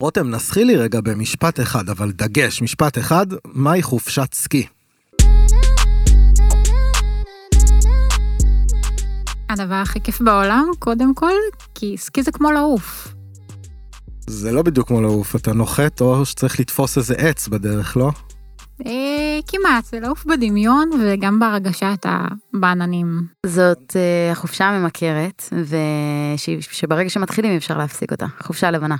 רותם, נסחי לי רגע במשפט אחד, אבל דגש, משפט אחד, מהי חופשת סקי? הדבר הכי כיף בעולם, קודם כל, כי סקי זה כמו לעוף. זה לא בדיוק כמו לעוף, אתה נוחת או שצריך לתפוס איזה עץ בדרך, לא? אה, כמעט, זה לעוף בדמיון וגם בהרגשה אתה בעננים. זאת אה, החופשה הממכרת, ושברגע שמתחילים אפשר להפסיק אותה. חופשה לבנה.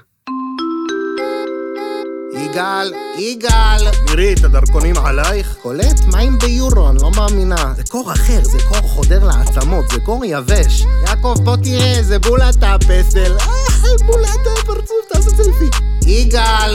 יגאל, יגאל! מירי, את הדרכונים עלייך? קולט מים ביורו, אני לא מאמינה. זה קור אחר, זה קור חודר לעצמות, זה קור יבש. יעקב, בוא תראה, זה בולת הפסל. אה, בולת הפרצוף, תעשה סלפי. יגאל!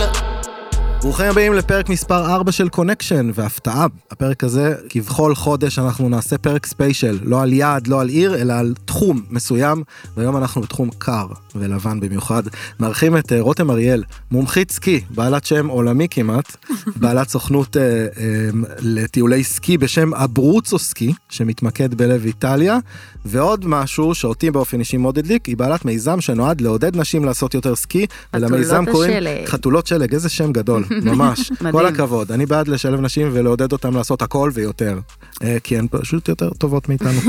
ברוכים הבאים לפרק מספר 4 של קונקשן, והפתעה, הפרק הזה, כבכל חודש אנחנו נעשה פרק ספיישל, לא על יעד, לא על עיר, אלא על תחום מסוים, והיום אנחנו בתחום קר ולבן במיוחד. מארחים את אה, רותם אריאל, מומחית סקי, בעלת שם עולמי כמעט, בעלת סוכנות אה, אה, לטיולי סקי בשם אברוצו סקי, שמתמקד בלב איטליה, ועוד משהו שאותי באופן אישי מאוד הדליק, היא בעלת מיזם שנועד לעודד נשים לעשות יותר סקי, חתולות ולמיזם קוראים השלג. חתולות שלג, איזה שם גדול, ממש. כל הכבוד, אני בעד לשלב נשים ולעודד אותן לעשות הכל ויותר. אה, כי הן פשוט יותר טובות מאיתנו,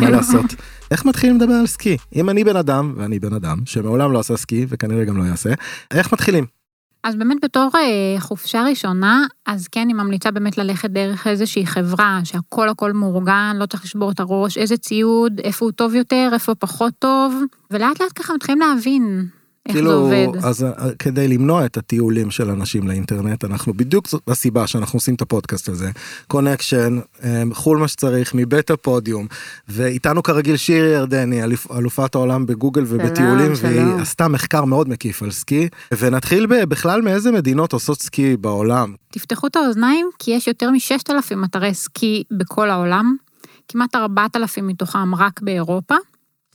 מה לעשות. איך מתחילים לדבר על סקי? אם אני בן אדם, ואני בן אדם, שמעולם לא עשה סקי וכנראה גם לא יעשה, איך מתחילים? אז באמת בתור אה, חופשה ראשונה, אז כן, אני ממליצה באמת ללכת דרך איזושהי חברה, שהכל הכל מאורגן, לא צריך לשבור את הראש, איזה ציוד, איפה הוא טוב יותר, איפה הוא פחות טוב, ולאט לאט ככה מתחילים להבין איך זה כאילו, עובד. אז אה, כדי למנוע את הטיולים של אנשים לאינטרנט, אנחנו בדיוק זאת הסיבה שאנחנו עושים את הפודקאסט הזה. קונקשן, אה, חול מה שצריך, מבית הפודיום, ואיתנו כרגיל שירי ירדני, אלופ- אלופת העולם בגוגל ובטיולים, שלום. והיא עשתה מחקר מאוד מקיף על סקי, ונתחיל ב- בכלל מאיזה מדינות עושות סקי בעולם. תפתחו את האוזניים, כי יש יותר מ-6,000 אתרי סקי בכל העולם, כמעט 4,000 מתוכם רק באירופה.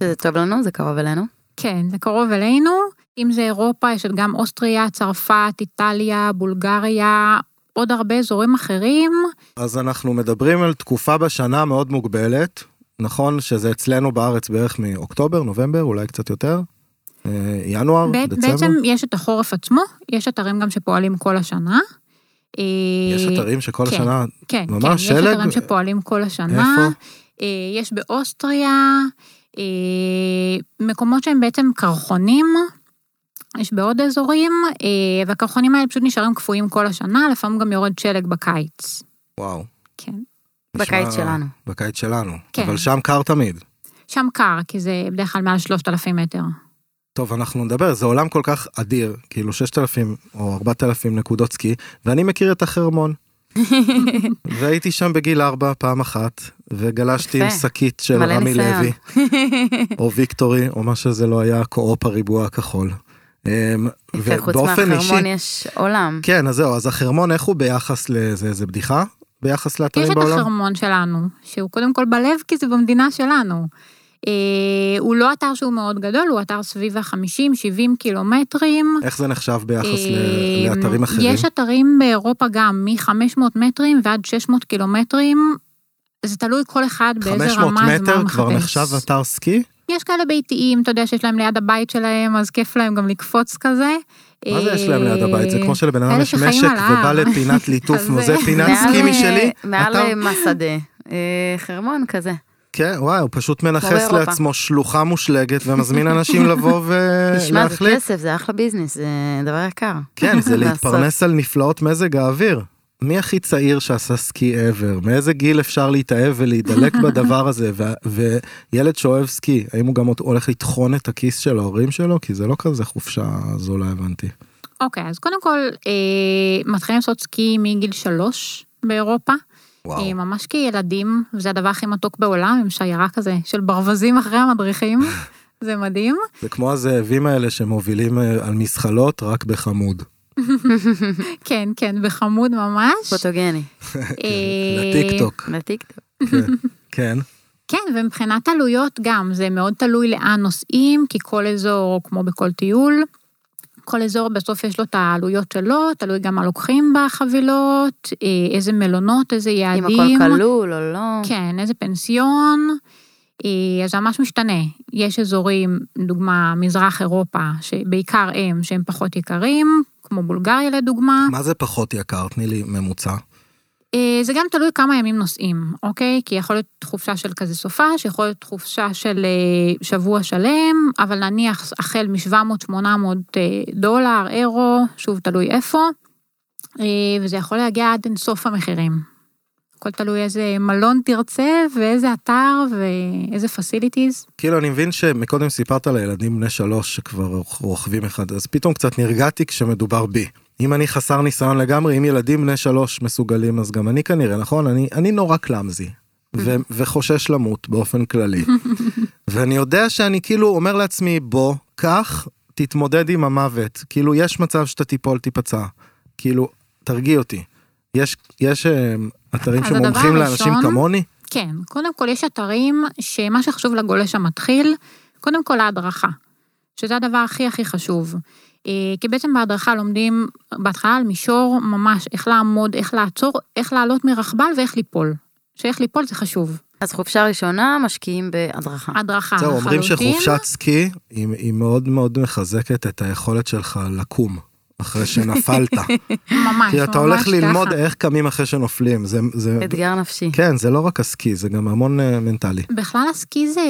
שזה טוב לנו, זה קרוב אלינו. כן, זה קרוב אלינו. אם זה אירופה, יש גם אוסטריה, צרפת, איטליה, בולגריה, עוד הרבה אזורים אחרים. אז אנחנו מדברים על תקופה בשנה מאוד מוגבלת, נכון שזה אצלנו בארץ בערך מאוקטובר, נובמבר, אולי קצת יותר, אה, ינואר, בע- דצמבר. בעצם יש את החורף עצמו, יש אתרים גם שפועלים כל השנה. יש אה, אתרים שכל כן. השנה, כן, ממש כן, יש שלג? אתרים שפועלים כל השנה. איפה? אה, יש באוסטריה, אה, מקומות שהם בעצם קרחונים, יש בעוד אזורים, אה, והקרחונים האלה פשוט נשארים קפואים כל השנה, לפעמים גם יורד שלג בקיץ. וואו. כן. נשמע- בקיץ שלנו. בקיץ שלנו. כן. אבל שם קר תמיד. שם קר, כי זה בדרך כלל מעל 3,000 מטר. טוב, אנחנו נדבר, זה עולם כל כך אדיר, כאילו 6,000 או 4,000 נקודות סקי, ואני מכיר את החרמון. והייתי שם בגיל 4 פעם אחת, וגלשתי עם יפה. שקית של מלא רמי ניסיון. לוי, או ויקטורי, או מה שזה לא היה, קו-אופ הריבוע הכחול. אמ, יפה, חוץ מהחרמון יש עולם. כן, אז זהו, אז החרמון, איך הוא ביחס לזה, זה בדיחה? ביחס יש לאתרים את בעולם? החרמון שלנו, שהוא קודם כל בלב, כי זה במדינה שלנו. אה, הוא לא אתר שהוא מאוד גדול, הוא אתר סביב ה-50-70 קילומטרים. איך זה נחשב ביחס ל- אה, לאתרים אחרים? יש אתרים באירופה גם, מ-500 מטרים ועד 600 קילומטרים. זה תלוי כל אחד באיזה 500 רמה, אז מה הוא מטר כבר מחפש. נחשב אתר סקי? יש כאלה ביתיים, אתה יודע, שיש להם ליד הבית שלהם, אז כיף להם גם לקפוץ כזה. מה זה יש להם ליד הבית? זה אה, כמו שלבן אדם אלה יש שחיים משק על ההר. ובא לפינת ליטוף, אז נו זה זה- פינת מעל- סקי משלי? מעל אתה- מסעדה. אה, חרמון כזה. כן, וואי, הוא פשוט מנכס באירופה. לעצמו שלוחה מושלגת ומזמין אנשים לבוא תשמע, זה ולהחליט. כסף, זה אחלה ביזנס, זה דבר יקר. כן, זה לעשות. להתפרנס על נפלאות מזג האוויר. מי הכי צעיר שעשה סקי ever? מאיזה גיל אפשר להתאהב ולהידלק בדבר הזה? ו- וילד שאוהב סקי, האם הוא גם הולך לטחון את הכיס של ההורים שלו? כי זה לא כזה חופשה זולה, הבנתי. אוקיי, אז קודם כל, אה, מתחילים לעשות סקי מגיל שלוש באירופה. אה, ממש כילדים, וזה הדבר הכי מתוק בעולם, עם שיירה כזה של ברווזים אחרי המדריכים. זה מדהים. זה כמו הזאבים האלה שמובילים אה, על מזחלות רק בחמוד. כן, כן, בחמוד ממש. פוטוגני. אה, לטיקטוק, לטיקטוק. כן. כן, ומבחינת עלויות גם, זה מאוד תלוי לאן נוסעים, כי כל אזור, כמו בכל טיול, כל אזור בסוף יש לו את העלויות שלו, תלוי גם מה לוקחים בחבילות, אה, איזה מלונות, איזה אם יעדים. הכל כלול או לא. כן, איזה כן, פנסיון. אה, אז זה ממש משתנה. יש אזורים, דוגמה, מזרח אירופה, שבעיקר הם, שהם פחות יקרים, כמו בולגריה לדוגמה. מה זה פחות יקר? תני לי ממוצע. אה, זה גם תלוי כמה ימים נוסעים, אוקיי? כי יכול להיות חופשה של כזה סופה, שיכול להיות חופשה של אה, שבוע שלם, אבל נניח החל מ-700-800 אה, דולר, אירו, שוב תלוי איפה, אה, וזה יכול להגיע עד אינסוף המחירים. הכל תלוי איזה מלון תרצה, ואיזה אתר, ואיזה פסיליטיז. כאילו, אני מבין שמקודם סיפרת על הילדים בני שלוש שכבר רוכבים אחד, אז פתאום קצת נרגעתי כשמדובר בי. אם אני חסר ניסיון לגמרי, אם ילדים בני שלוש מסוגלים, אז גם אני כנראה, נכון? אני, אני נורא קלאמזי, ו- וחושש למות באופן כללי. ואני יודע שאני כאילו אומר לעצמי, בוא, קח, תתמודד עם המוות. כאילו, יש מצב שאתה תיפול, תיפצע. כאילו, תרגיע אותי. יש, יש אה, אתרים אז הדבר שמומחים לאנשים הראשון- כמוני? כן, קודם כל יש אתרים שמה שחשוב לגולש המתחיל, קודם כל ההדרכה, שזה הדבר הכי הכי חשוב. אה, כי בעצם בהדרכה לומדים בהתחלה על מישור ממש איך לעמוד, איך לעצור, איך לעלות מרכבל ואיך ליפול. שאיך ליפול זה חשוב. אז חופשה ראשונה משקיעים בהדרכה. הדרכה אה, זהו, אומרים אה, לחלוטין. שחופשת סקי היא, היא מאוד מאוד מחזקת את היכולת שלך לקום אחרי שנפלת. ממש, כי אתה ממש הולך ללמוד ככה. איך קמים אחרי שנופלים. זה, זה, אתגר נפשי. כן, זה לא רק הסקי, זה גם המון אה, מנטלי. בכלל הסקי זה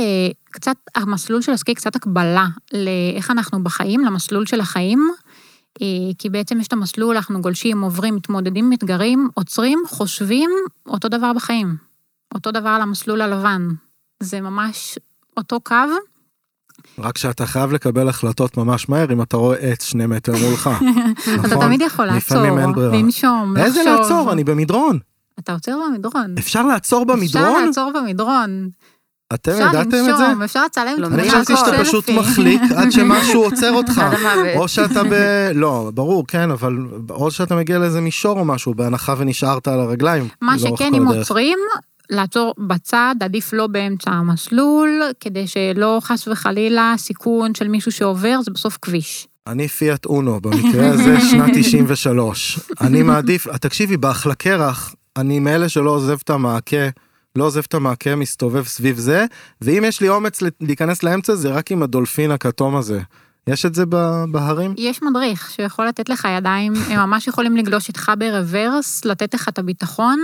קצת, המסלול של הסקי קצת הקבלה לאיך אנחנו בחיים, למסלול של החיים. אה, כי בעצם יש את המסלול, אנחנו גולשים, עוברים, מתמודדים, מתגרים, עוצרים, חושבים, אותו דבר בחיים. אותו דבר על המסלול הלבן. זה ממש אותו קו. רק שאתה חייב לקבל החלטות ממש מהר אם אתה רואה עץ שני מטר מולך. אתה נכון? תמיד יכול לעצור, לפעמים אין ברירה. לנשום, לחשוב. איזה לעצור? אני במדרון. אתה עוצר במדרון. אפשר לעצור אפשר במדרון? לעצור במדרון. אתם אפשר ידעתם את זה? לנשום, אפשר לצלם לא, אני אני חשבתי לעקוב. שאתה פשוט מחליק עד שמשהו עוצר אותך. עד המוות. או שאתה ב... לא, ברור, כן, אבל או שאתה מגיע לאיזה מישור או משהו, בהנחה ונשארת על הרגליים. מה לאורך שכן, כל אם הדרך. עוצרים, לעצור בצד, עדיף לא באמצע המסלול, כדי שלא חס וחלילה סיכון של מישהו שעובר, זה בסוף כביש. אני פיאט אונו, במקרה הזה שנת 93. אני מעדיף, תקשיבי, באחלה קרח, אני מאלה שלא עוזב את המעקה, לא עוזב את המעקה, מסתובב סביב זה, ואם יש לי אומץ להיכנס לאמצע, זה רק עם הדולפין הכתום הזה. יש את זה ב- בהרים? יש מדריך שיכול לתת לך ידיים, הם ממש יכולים לגלוש איתך ברוורס, לתת לך את הביטחון,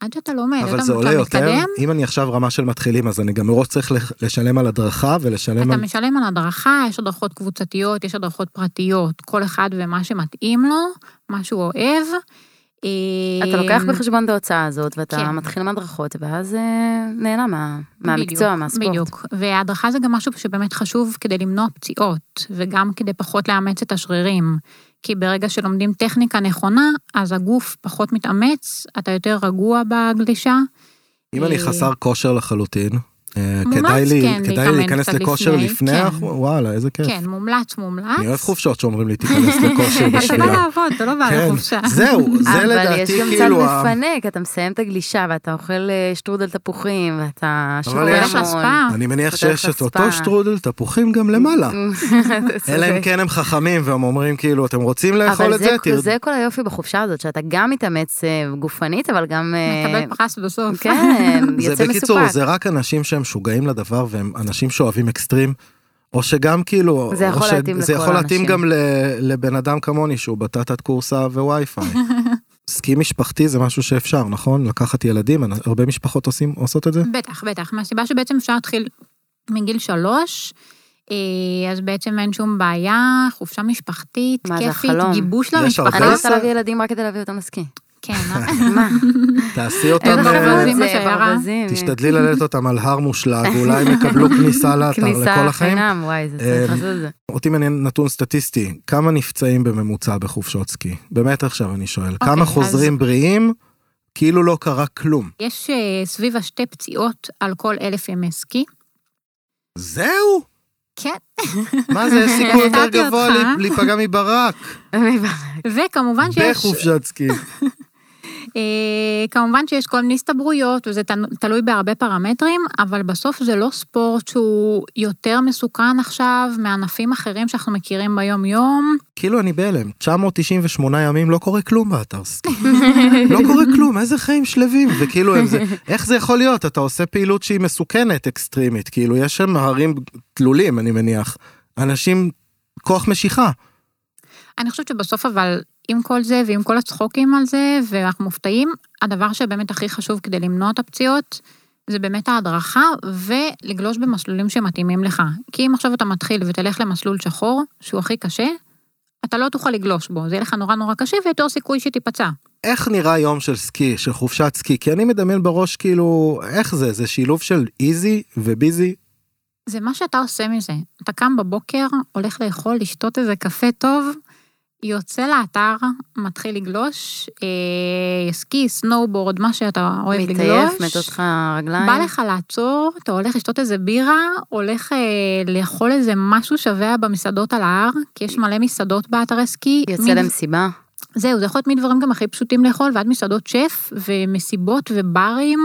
עד שאתה לומד, אבל אתה- זה עולה אתה יותר, מתקדם, אם אני עכשיו רמה של מתחילים, אז אני גם מראש צריך לח- לשלם על הדרכה ולשלם אתה על... משלם על הדרכה, יש הדרכות קבוצתיות, יש הדרכות פרטיות, כל אחד ומה שמתאים לו, מה שהוא אוהב. אה, אתה לוקח בחשבון את ההוצאה הזאת, כן. ואתה מתחיל עם הדרכות, ואז אה, נהנה מה- מהמקצוע, בדיוק, מהספורט. בדיוק, וההדרכה זה גם משהו שבאמת חשוב כדי למנוע פציעות, וגם כדי פחות לאמץ את השרירים. כי ברגע שלומדים טכניקה נכונה, אז הגוף פחות מתאמץ, אתה יותר רגוע בגלישה. אם אני אה, חסר כושר לחלוטין, אה, מומלץ, כדאי לי כן, כדאי להתאמן לי להיכנס קצת לכושר לפני, לפני, כן. אך- וואלה, איזה כיף. כן, מומלץ, מומלץ. אני אוהב חופשות שאומרים לי תיכנס לכושר אתה בא בשבילה. לעבוד, אתה לא בא כן, לחופשה. זהו, זה אבל יש לדעתי גם צד כאילו, ה- מפנק, אתה מסיים את הגלישה, ואתה אוכל אה, שטרודל תפוחים, ואתה אבל שומע יש- המון. לספה. אני מניח אתה שיש הולך את אותו לספה. שטרודל תפוחים גם למעלה. אתה צודק. אלא אם כן הם חכמים והם אומרים כאילו אתם רוצים לאכול אוקיי. אבל את זה, זה, זה כל היופי בחופשה הזאת, שאתה גם מתאמץ אה, גופנית, אבל גם... אה, מקבל פרס בסוף. כן, יוצא זה מסופק. בקיצור, זה רק אנשים שהם משוגעים לדבר והם אנשים שאוהבים אקסטרים. או שגם כאילו, זה יכול או ש- להתאים זה לכל יכול להתאים האנשים. גם ל- לבן אדם כמוני שהוא בטטת קורסה ווי-פיי. סקי משפחתי זה משהו שאפשר, נכון? לקחת ילדים, אנ- הרבה משפחות עושים, עושות את זה? בטח, בטח. מהסיבה שבעצם אפשר להתחיל מגיל שלוש, אה, אז בעצם אין שום בעיה, חופשה משפחתית, מה, זה כיפית, החלום. גיבוש יש למשפחה. אני לא הרבה- רוצה להביא ילדים רק כדי להביא אותם לסקי. כן, מה? תעשי אותם, איזה גם, אה, חברות חמוד ברווזים זה, בשיירה. ברווזים. תשתדלי ללדת אותם על הר מושלג, אולי הם יקבלו כניסה לאתר לכל כניסה החיים. חינם, וואי, זה צריך אה, לעשות את זה. אותי מעניין נתון סטטיסטי, כמה נפצעים בממוצע בחופשות סקי? באמת עכשיו אני שואל, אוקיי, כמה אז- חוזרים בריאים, כאילו לא קרה כלום. יש אה, סביב השתי פציעות על כל אלף ימי סקי. זהו? כן. מה זה, יש סיכוי יותר הפתעתי גבוה אותך. אה? לי- להיפגע מברק וכמובן שיש בחופשת סקי. אה, כמובן שיש כל מיני הסתברויות, וזה תל- תלוי בהרבה פרמטרים, אבל בסוף זה לא ספורט שהוא יותר מסוכן עכשיו מענפים אחרים שאנחנו מכירים ביום-יום. כאילו אני בהלם, 998 ימים לא קורה כלום באתר סקי. לא קורה כלום, איזה חיים שלווים, וכאילו הם זה, איך זה יכול להיות? אתה עושה פעילות שהיא מסוכנת אקסטרימית, כאילו יש שם הרים תלולים אני מניח, אנשים, כוח משיכה. אני חושבת שבסוף אבל, עם כל זה ועם כל הצחוקים על זה, ואנחנו מופתעים, הדבר שבאמת הכי חשוב כדי למנוע את הפציעות, זה באמת ההדרכה, ולגלוש במסלולים שמתאימים לך. כי אם עכשיו אתה מתחיל ותלך למסלול שחור, שהוא הכי קשה, אתה לא תוכל לגלוש בו, זה יהיה לך נורא נורא קשה ויותר סיכוי שתיפצע. איך נראה יום של סקי, של חופשת סקי? כי אני מדמיין בראש כאילו, איך זה? זה שילוב של איזי וביזי? זה מה שאתה עושה מזה. אתה קם בבוקר, הולך לאכול, לשתות איזה קפה טוב, יוצא לאתר, מתחיל לגלוש, אה, סקי, סנואובורד, מה שאתה אוהב לגלוש. מתעייף, מת אותך רגליים. בא לך לעצור, אתה הולך לשתות איזה בירה, הולך אה, לאכול איזה משהו שווה במסעדות על ההר, כי יש מלא מסעדות באתרי סקי. יוצא מין- למסיבה. זהו, זה יכול להיות מדברים גם הכי פשוטים לאכול, ועד מסעדות שף, ומסיבות וברים,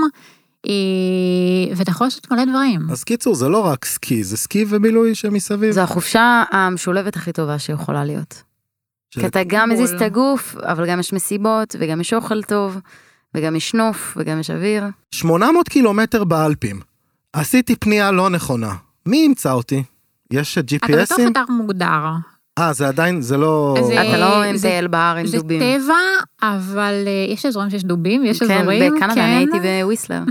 אה, ואתה יכול לעשות מלא דברים. אז קיצור, זה לא רק סקי, זה סקי ובילוי שמסביב. זו החופשה המשולבת הכי טובה שיכולה להיות. של- כי אתה גם בול. מזיז את הגוף, אבל גם יש מסיבות, וגם יש אוכל טוב, וגם יש נוף, וגם יש אוויר. 800 קילומטר באלפים. עשיתי פנייה לא נכונה. מי ימצא אותי? יש אתה בתוך GPSים? אתר מוגדר. אה, זה עדיין, זה לא... אז, אה, אתה לא עם זה- טייל בהר עם זה דובים. טבע, אבל אה, יש אזורים שיש דובים, יש כן, אזורים, בקנדה, אני הייתי בוויסלר.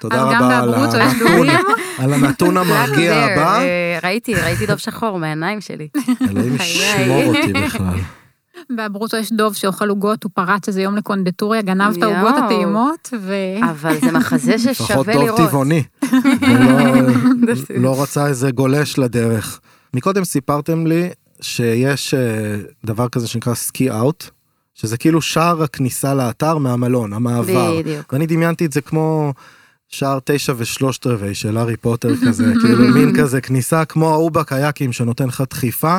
תודה אז גם רבה על באברוץ יש הנתון, דובים. על הנתון המרגיע There, הבא. אה, ראיתי, ראיתי דוב שחור מהעיניים שלי. אלוהים ישמור חיי. אותי בכלל. באברוצו יש דוב שאוכל עוגות, הוא פרץ איזה יום לקונדטוריה, גנב את יואו. העוגות הטעימות, ו... אבל זה מחזה לפחות ששווה טוב לראות. טבעוני. ולא- לא רצה איזה גולש לדרך. מקודם סיפרתם לי שיש אה, דבר כזה שנקרא סקי אאוט, שזה כאילו שער הכניסה לאתר מהמלון, המעבר. בדיוק. ואני דמיינתי את זה כמו שער תשע ושלושת רבעי של הארי פוטר כזה, כאילו מין כזה כניסה כמו ההוא בקייקים שנותן לך דחיפה.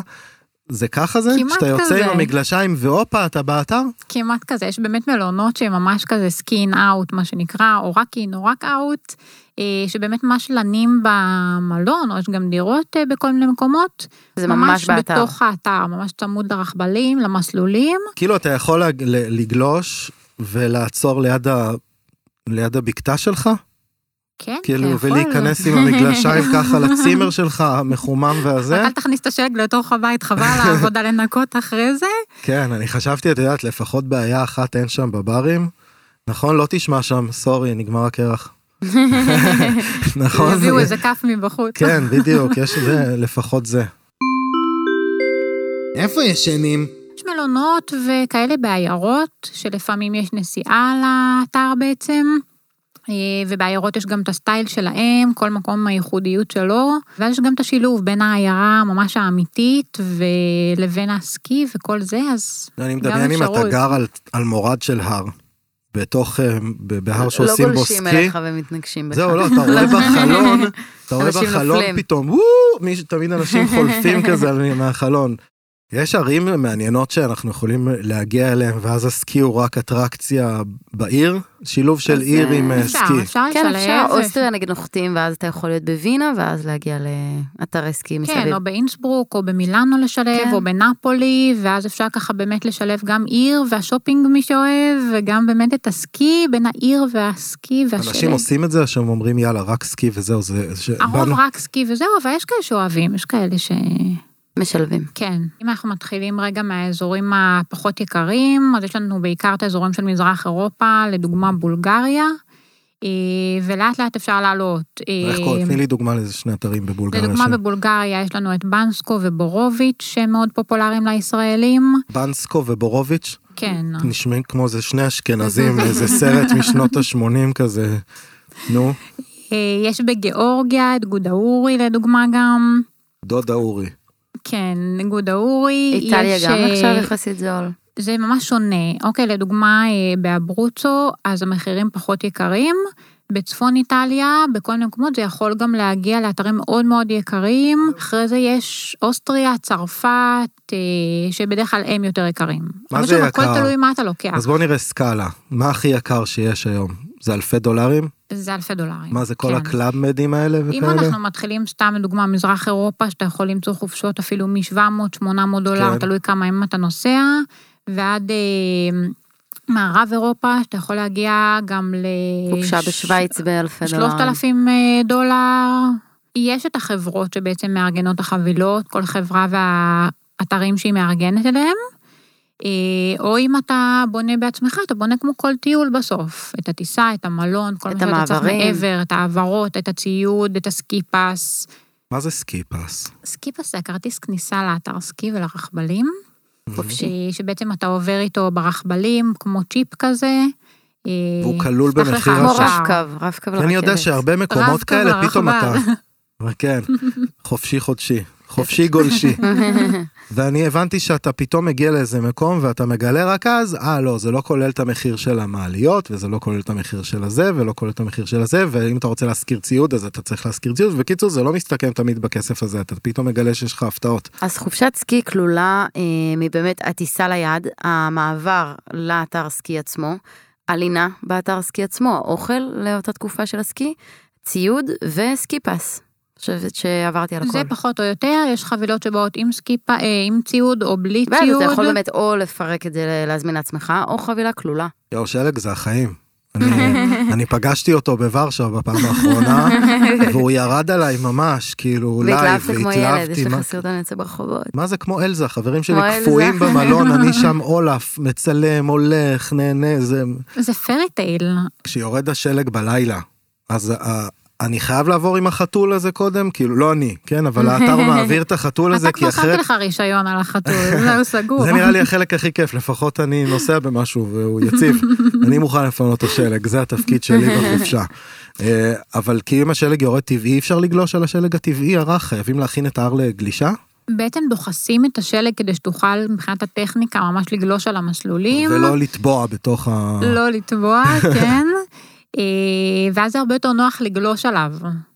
זה ככה זה? כמעט שאתה יוצא כזה. עם המגלשיים והופה אתה באתר? כמעט כזה, יש באמת מלונות שהם ממש כזה סקין אאוט, מה שנקרא, או רק אין או רק אאוט, אה, שבאמת ממש לנים במלון, או יש גם דירות אה, בכל מיני מקומות. זה ממש באתר. בתוך האתר, ממש צמוד לרכבלים, למסלולים. כאילו אתה יכול לג- ל- לגלוש ולעצור ליד ה... ליד הבקתה שלך, כן, כאילו, אתה יכול. ולהיכנס עם המגלשיים ככה לצימר שלך, המחומם והזה. רק אל תכניס את השלג לתוך הבית, חבל העבודה לנקות אחרי זה. כן, אני חשבתי, את יודעת, לפחות בעיה אחת אין שם בברים. נכון? לא תשמע שם, סורי, נגמר הקרח. נכון? הביאו איזה כף מבחוץ. כן, בדיוק, יש זה, לפחות זה. איפה ישנים? יש מלונות וכאלה בעיירות, שלפעמים יש נסיעה לאתר בעצם, אה, ובעיירות יש גם את הסטייל שלהם, כל מקום עם הייחודיות שלו, ואז יש גם את השילוב בין העיירה ממש האמיתית ולבין הסקי וכל זה, אז לא, אני מדמיין אם אתה אפשרות. גר על- על מורד של הר, בתוך, אה, ב- בהר לא שעושים בו סקי. גולשים אליך ומתנגשים בך. זהו, לא, אתה רואה בחלון, אתה רואה אנשים בחלון נופלים. פתאום, וואו, מישהו- תמיד אנשים חולפים כזה על- מהחלון. יש ערים מעניינות שאנחנו יכולים להגיע אליהן, ואז הסקי הוא רק אטרקציה בעיר, שילוב של אז, עיר אה, עם אה, אפשר, סקי. אפשר כן, אפשר, לשלב. אוסטריה נגיד נוחתים, ואז אתה יכול להיות בווינה, ואז להגיע לאתרי סקי כן, מסביב. או באינסברוק, או במילאנו לשלב, כן. או בנפולי, ואז אפשר ככה באמת לשלב גם עיר והשופינג, מי שאוהב, וגם באמת את הסקי, בין העיר והסקי והשלג. אנשים עושים את זה, שהם אומרים יאללה, רק סקי וזהו, זה... ש- הרוב באנו- רק סקי וזהו, אבל יש כאלה שאוהבים, יש כאלה ש... משלבים. כן. אם אנחנו מתחילים רגע מהאזורים הפחות יקרים, אז יש לנו בעיקר את האזורים של מזרח אירופה, לדוגמה בולגריה, אה, ולאט לאט אפשר לעלות. אה, איך קוראים? תני לי דוגמה לאיזה שני אתרים בבולגריה. לדוגמה ש- בבולגריה יש לנו את בנסקו ובורוביץ', שהם מאוד פופולריים לישראלים. בנסקו ובורוביץ', כן. נשמעים כמו איזה שני אשכנזים, איזה סרט משנות ה-80 כזה. נו, אה, יש בגיאורגיה את גודאורי לדוגמה גם. דודה אורי. כן, גודאורי. איטליה יש, גם אה, עכשיו יחסית זול. זה ממש שונה. אוקיי, לדוגמה, אה, באברוצו, אז המחירים פחות יקרים, בצפון איטליה, בכל מיני מקומות, זה יכול גם להגיע לאתרים מאוד מאוד יקרים. אחרי זה יש אוסטריה, צרפת, אה, שבדרך כלל הם יותר יקרים. מה אבל זה שוב, הכל יקר? תלוי מה אתה לוקח. אז בואו נראה סקאלה, מה הכי יקר שיש היום? זה אלפי דולרים? זה אלפי דולרים. מה זה כל כן. הקלאבמדים האלה אם וכאלה? אנחנו מתחילים, סתם לדוגמה, מזרח אירופה, שאתה יכול למצוא חופשות אפילו מ-700-800 דולר, כן. תלוי כמה ימים אתה נוסע, ועד אה, מערב אירופה, שאתה יכול להגיע גם ל... הוגשה ש- בשוויץ באלפי דולרים. 3,000 אה, דולר. יש את החברות שבעצם מארגנות החבילות, כל חברה והאתרים שהיא מארגנת אליהם. אה, או אם אתה בונה בעצמך, אתה בונה כמו כל טיול בסוף. את הטיסה, את המלון, כל את מה שאתה צריך המעברים. מעבר, את ההעברות, את הציוד, את הסקי-פס. מה זה סקיפס? סקי-פס זה הכרטיס כניסה לאתר סקי ולרכבלים. חופשי. אה, שבעצם אתה עובר איתו ברכבלים, כמו צ'יפ כזה. אה, והוא כלול יפתח לך במחיר כמו עכשיו. השער. רב-קו, לא, רב-קו לא לרכבת. לא אני יודע שהרבה מקומות רב-קו כאלה, פתאום אתה... לרחבה. אבל כן, חופשי חודשי, חופשי גולשי. ואני הבנתי שאתה פתאום מגיע לאיזה מקום ואתה מגלה רק אז, אה לא, זה לא כולל את המחיר של המעליות, וזה לא כולל את המחיר של הזה, ולא כולל את המחיר של הזה, ואם אתה רוצה להשכיר ציוד אז אתה צריך להשכיר ציוד, ובקיצור זה לא מסתכם תמיד בכסף הזה, אתה פתאום מגלה שיש לך הפתעות. אז חופשת סקי כלולה אה, מבאמת הטיסה ליד, המעבר לאתר סקי עצמו, הלינה באתר סקי עצמו, האוכל לאותה תקופה של הסקי, ציוד וסקי פס. חושבת שעברתי על הכל. זה פחות או יותר, יש חבילות שבאות עם סקיפה, אה, עם ציוד או בלי ואז ציוד. אתה יכול באמת או לפרק את זה, להזמין לעצמך, או חבילה כלולה. יאו שלג זה החיים. אני, אני פגשתי אותו בוורשה בפעם האחרונה, והוא ירד עליי ממש, כאילו לייב, והתלהבת כמו ילד, יש מה- לך סרטון יוצא ברחובות. מה זה כמו אלזה, חברים שלי כמו אלזה. קפואים במלון, אני שם אולף, מצלם, הולך, נהנה, זה... זה פרי טייל. כשיורד השלג בלילה, אז ה- אני חייב לעבור עם החתול הזה קודם, כאילו, לא אני, כן, אבל האתר מעביר את החתול הזה, אתה כי כבר אחרת... שמתי לך רישיון על החתול, זהו סגור. זה נראה לי החלק הכי כיף, לפחות אני נוסע במשהו והוא יציב. אני מוכן לפנות את השלג, זה התפקיד שלי בחופשה. אה, אבל כי אם השלג יורד טבעי, אי אפשר לגלוש על השלג הטבעי הרך, חייבים להכין את ההר לגלישה, בעצם דוחסים את השלג כדי שתוכל מבחינת הטכניקה ממש לגלוש על המסלולים. ולא לטבוע בתוך ה... לא לטבוע, כן. אה, ואז זה הרבה יותר נוח לגלוש עליו.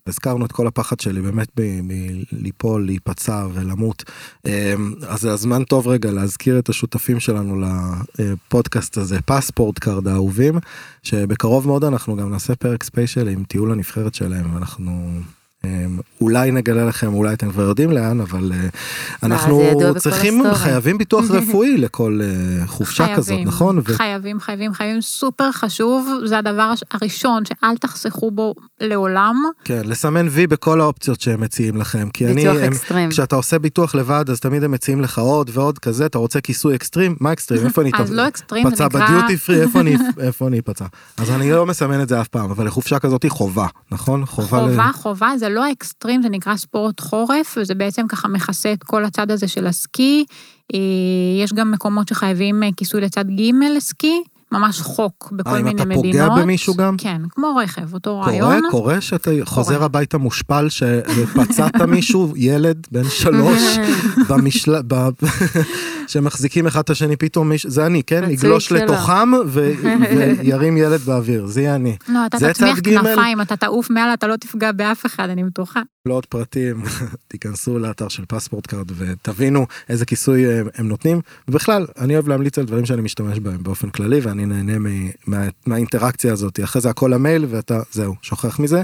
הזכרנו את כל הפחד שלי באמת ב- מליפול, להיפצע ולמות. אמ, אז זה הזמן טוב רגע להזכיר את השותפים שלנו לפודקאסט הזה, פספורט קארד האהובים, שבקרוב מאוד אנחנו גם נעשה פרק ספיישל עם טיול הנבחרת שלהם, אנחנו... אמ, אולי נגלה לכם, אולי אתם כבר יודעים לאן, אבל אה, אנחנו זה ידוע בכל צריכים, הסטורי. חייבים ביטוח רפואי לכל אה, חופשה חייבים, כזאת, נכון? ו- חייבים, חייבים, חייבים, סופר חשוב, זה הדבר הש- הראשון שאל תחסכו בו לעולם. כן, לסמן וי בכל האופציות שהם מציעים לכם, כי אני, ביטוח הם, כן. אקסטרים. כשאתה עושה ביטוח לבד אז תמיד הם מציעים לך עוד ועוד כזה אתה רוצה כיסוי אקסטרים מה אקסטרים איפה אני אז אתפ- לא אקסטרים, זה פצע נקרא- בדיוטי פרי איפה אני איפה אני אפצע אז אני לא מסמן את זה אף פעם אבל לחופשה כזאת היא חובה נכון חובה, חובה, ל... חובה, זה לא האקסטרים, זה נקרא ספורט חורף, וזה בעצם ככה מכסה את כל הצד הזה של הסקי. אה, יש גם מקומות שחייבים אה, כיסוי לצד ג' לסקי, ממש חוק בכל אה, אם מיני אתה מדינות. פוגע במישהו גם? כן, כמו רכב, אותו קורה רעיון. קורה שאתה חוזר הביתה מושפל שפצעת מישהו ילד בן שלוש כן. במשל... ב... שמחזיקים אחד את השני פתאום מישהו זה אני כן רצוי יגלוש שלא. לתוכם ו... וירים ילד באוויר זה יהיה אני לא, אתה זה תצמיח צד ג'. כנפיים, אתה תעוף מעל, אתה לא תפגע באף אחד, אני בטוחה. לעוד פרטים, תיכנסו לאתר של פספורט קארד ותבינו איזה כיסוי אה, הם, הם נותנים. ובכלל, אני אוהב להמליץ על דברים שאני משתמש בהם באופן כללי, ואני נהנה מ, מה, מהאינטראקציה הזאת. אחרי זה הכל למייל ואתה, זהו, שוכח מזה.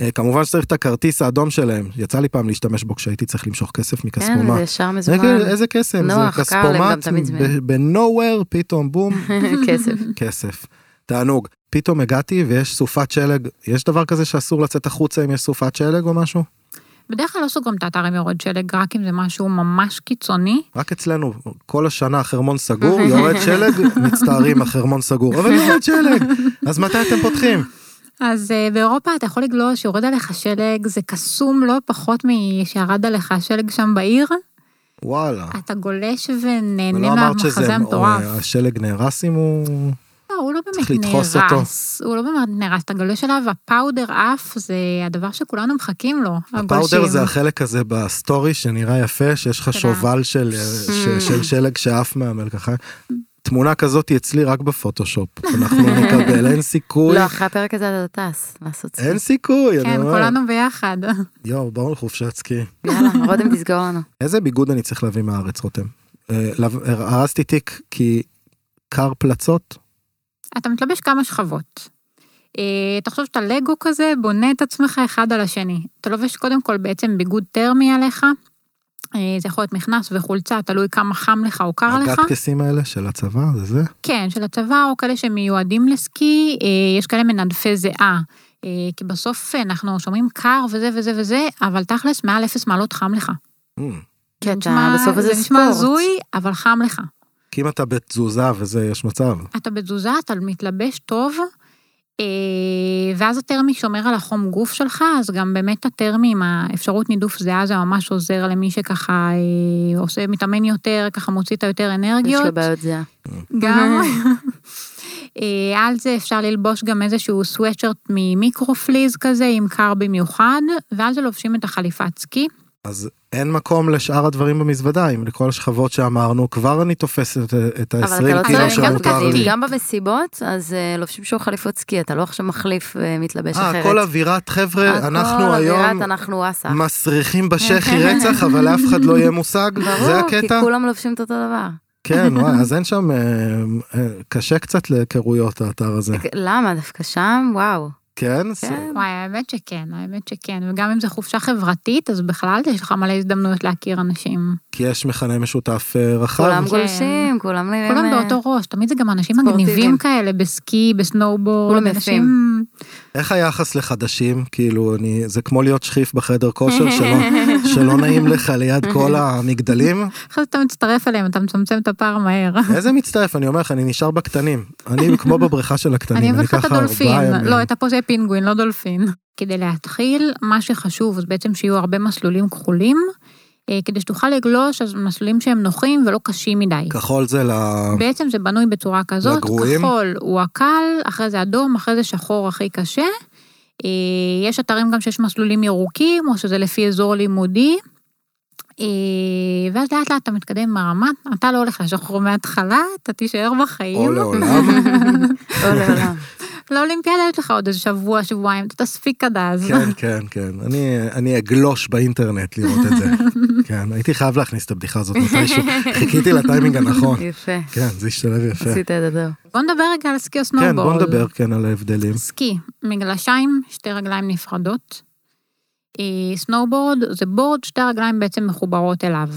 אה, כמובן שצריך את הכרטיס האדום שלהם, יצא לי פעם להשתמש בו כשהייתי צריך למשוך כסף כן, מכספומט. זה ישר זה מזומן. כאילו, איזה קסם, זה נוח, קל, הם גם כספומט, תמיד זמינים. ב-nowhere, פתאום בום, כסף. כסף. תענוג. פתאום הגעתי ויש סופת שלג, יש דבר כזה שאסור לצאת החוצה אם יש סופת שלג או משהו? בדרך כלל לא סוגרים את האתר עם יורד שלג, רק אם זה משהו ממש קיצוני. רק אצלנו, כל השנה החרמון סגור, יורד שלג, מצטערים, החרמון סגור, אבל יורד שלג, אז מתי אתם פותחים? אז אה, באירופה אתה יכול לגלוש, יורד עליך שלג, זה קסום לא פחות משירד עליך שלג שם בעיר. וואלה. אתה גולש ונהנה ולא אה. לא אמרת שזה, מהמחזה המטורף. או, השלג נהרס אם הוא... לא, הוא לא צריך באמת לדחוס נהרס. הוא לא באמת נהרס, אתה גולש עליו, הפאודר אף זה הדבר שכולנו מחכים לו, הפאודר זה הגולשים. החלק הזה בסטורי שנראה יפה, שיש לך תודה. שובל של, ש, של שלג שעף מהמלקחה. תמונה כזאת אצלי רק בפוטושופ, אנחנו נקבל, אין סיכוי. לא, אחרי הפרק הזה אתה טס לעשות אין סיכוי, אני כן, אומר. כולנו ביחד. יואו, בואו לחופשת סקי. יאללה, רותם תסגור לנו. איזה ביגוד אני צריך להביא מהארץ, רותם? אה, לב- הרסתי תיק כי קר פלצות? אתה מתלבש כמה שכבות. אה, תחשוב שאתה לגו כזה, בונה את עצמך אחד על השני. אתה לובש קודם כל בעצם ביגוד טרמי עליך, אה, זה יכול להיות מכנס וחולצה, תלוי כמה חם לך או קר לך. הגטקסים האלה של הצבא, זה זה? כן, של הצבא, או כאלה שמיועדים לסקי, אה, יש כאלה מנדפי זיעה. אה, כי בסוף אנחנו שומעים קר וזה וזה וזה, אבל תכלס, מעל אפס מעלות חם לך. אמ, כן, אתה נשמע- בסוף הזה זה נשמע ספורט. הזוי, אבל חם לך. כי אם אתה בתזוזה וזה, יש מצב. אתה בתזוזה, אתה מתלבש טוב, אה, ואז הטרמי שומר על החום גוף שלך, אז גם באמת הטרמי עם האפשרות נידוף זיעה זה ממש עוזר למי שככה אה, עושה, מתאמן יותר, ככה מוציא את היותר יש אנרגיות. לו בעיות זיעה. גם. אוקיי. אה, על זה אפשר ללבוש גם איזשהו סוואצ'רט ממיקרופליז כזה, אם קר במיוחד, ועל זה לובשים את החליפת סקי. אז אין מקום לשאר הדברים במזוודה, אם לכל השכבות שאמרנו, כבר אני תופס את, את אבל אתה לא ה-20 קילו צריך, גם שמותר בגדים, לי. גם במסיבות, אז אה, לובשים שוב חליפות סקי, אתה לא עכשיו מחליף אה, מתלבש אה, אחרת. כל אווירת, חבר'ה, אנחנו הכל היום אווירת, אנחנו אסה. מסריחים בשחי רצח, אבל לאף אחד לא יהיה מושג, זה ברור, כי הקטע? כולם לובשים את אותו דבר. כן, וואי, אז אין שם, אה, אה, קשה קצת להיכרויות האתר הזה. למה? דווקא שם? וואו. כן? זה- כן. וואי, האמת שכן, האמת שכן. וגם אם זו חופשה חברתית, אז בכלל יש לך מלא הזדמנויות להכיר אנשים. כי יש מכנה משותף אה, רחב. כולם גולשים, כולם נראים... כן. כולם אה, באותו ראש, תמיד זה גם אנשים ספורטיביים. מגניבים כאלה, בסקי, בסנואובורד, כולם אנשים... איך היחס לחדשים? כאילו, אני, זה כמו להיות שכיף בחדר כושר שלא, שלא נעים לך ליד כל המגדלים. אחרי זה אתה מצטרף אליהם, אתה מצמצם את הפער מהר. איזה מצטרף, אני אומר לך, אני נשאר בקטנים. אני כמו בבריכה של אני הקטנים, אביא לך את ככה הדולפין. ארבעה ימים. לא, אתה פה זה פינגווין, לא דולפין. כדי להתחיל, מה שחשוב זה בעצם שיהיו הרבה מסלולים כחולים, אה, כדי שתוכל לגלוש, אז מסלולים שהם נוחים ולא קשים מדי. כחול זה ל... בעצם זה בנוי בצורה כזאת, לגרועים? כחול הוא הקל, אחרי זה אדום, אחרי זה שחור הכי קשה. אה, יש אתרים גם שיש מסלולים ירוקים, או שזה לפי אזור לימודי. אה, ואז לאט לאט אתה מתקדם ברמה, אתה לא הולך לשחרור מההתחלה, אתה תישאר בחיים. או לא. לעולם. או לעולם. לאולימפיאדה יש לך עוד איזה שבוע, שבועיים, אתה תספיק עד אז. כן, כן, כן. אני, אני אגלוש באינטרנט לראות את זה. כן, הייתי חייב להכניס את הבדיחה הזאת מתישהו. חיכיתי לטיימינג הנכון. יפה. כן, זה השתלב יפה. עשית את הדבר. בוא נדבר רגע על סקי או סנובול. כן, בוא נדבר כן על ההבדלים. סקי, מגלשיים, שתי רגליים נפרדות. אה, סנואובורד זה בורד, שתי הרגליים בעצם מחוברות אליו.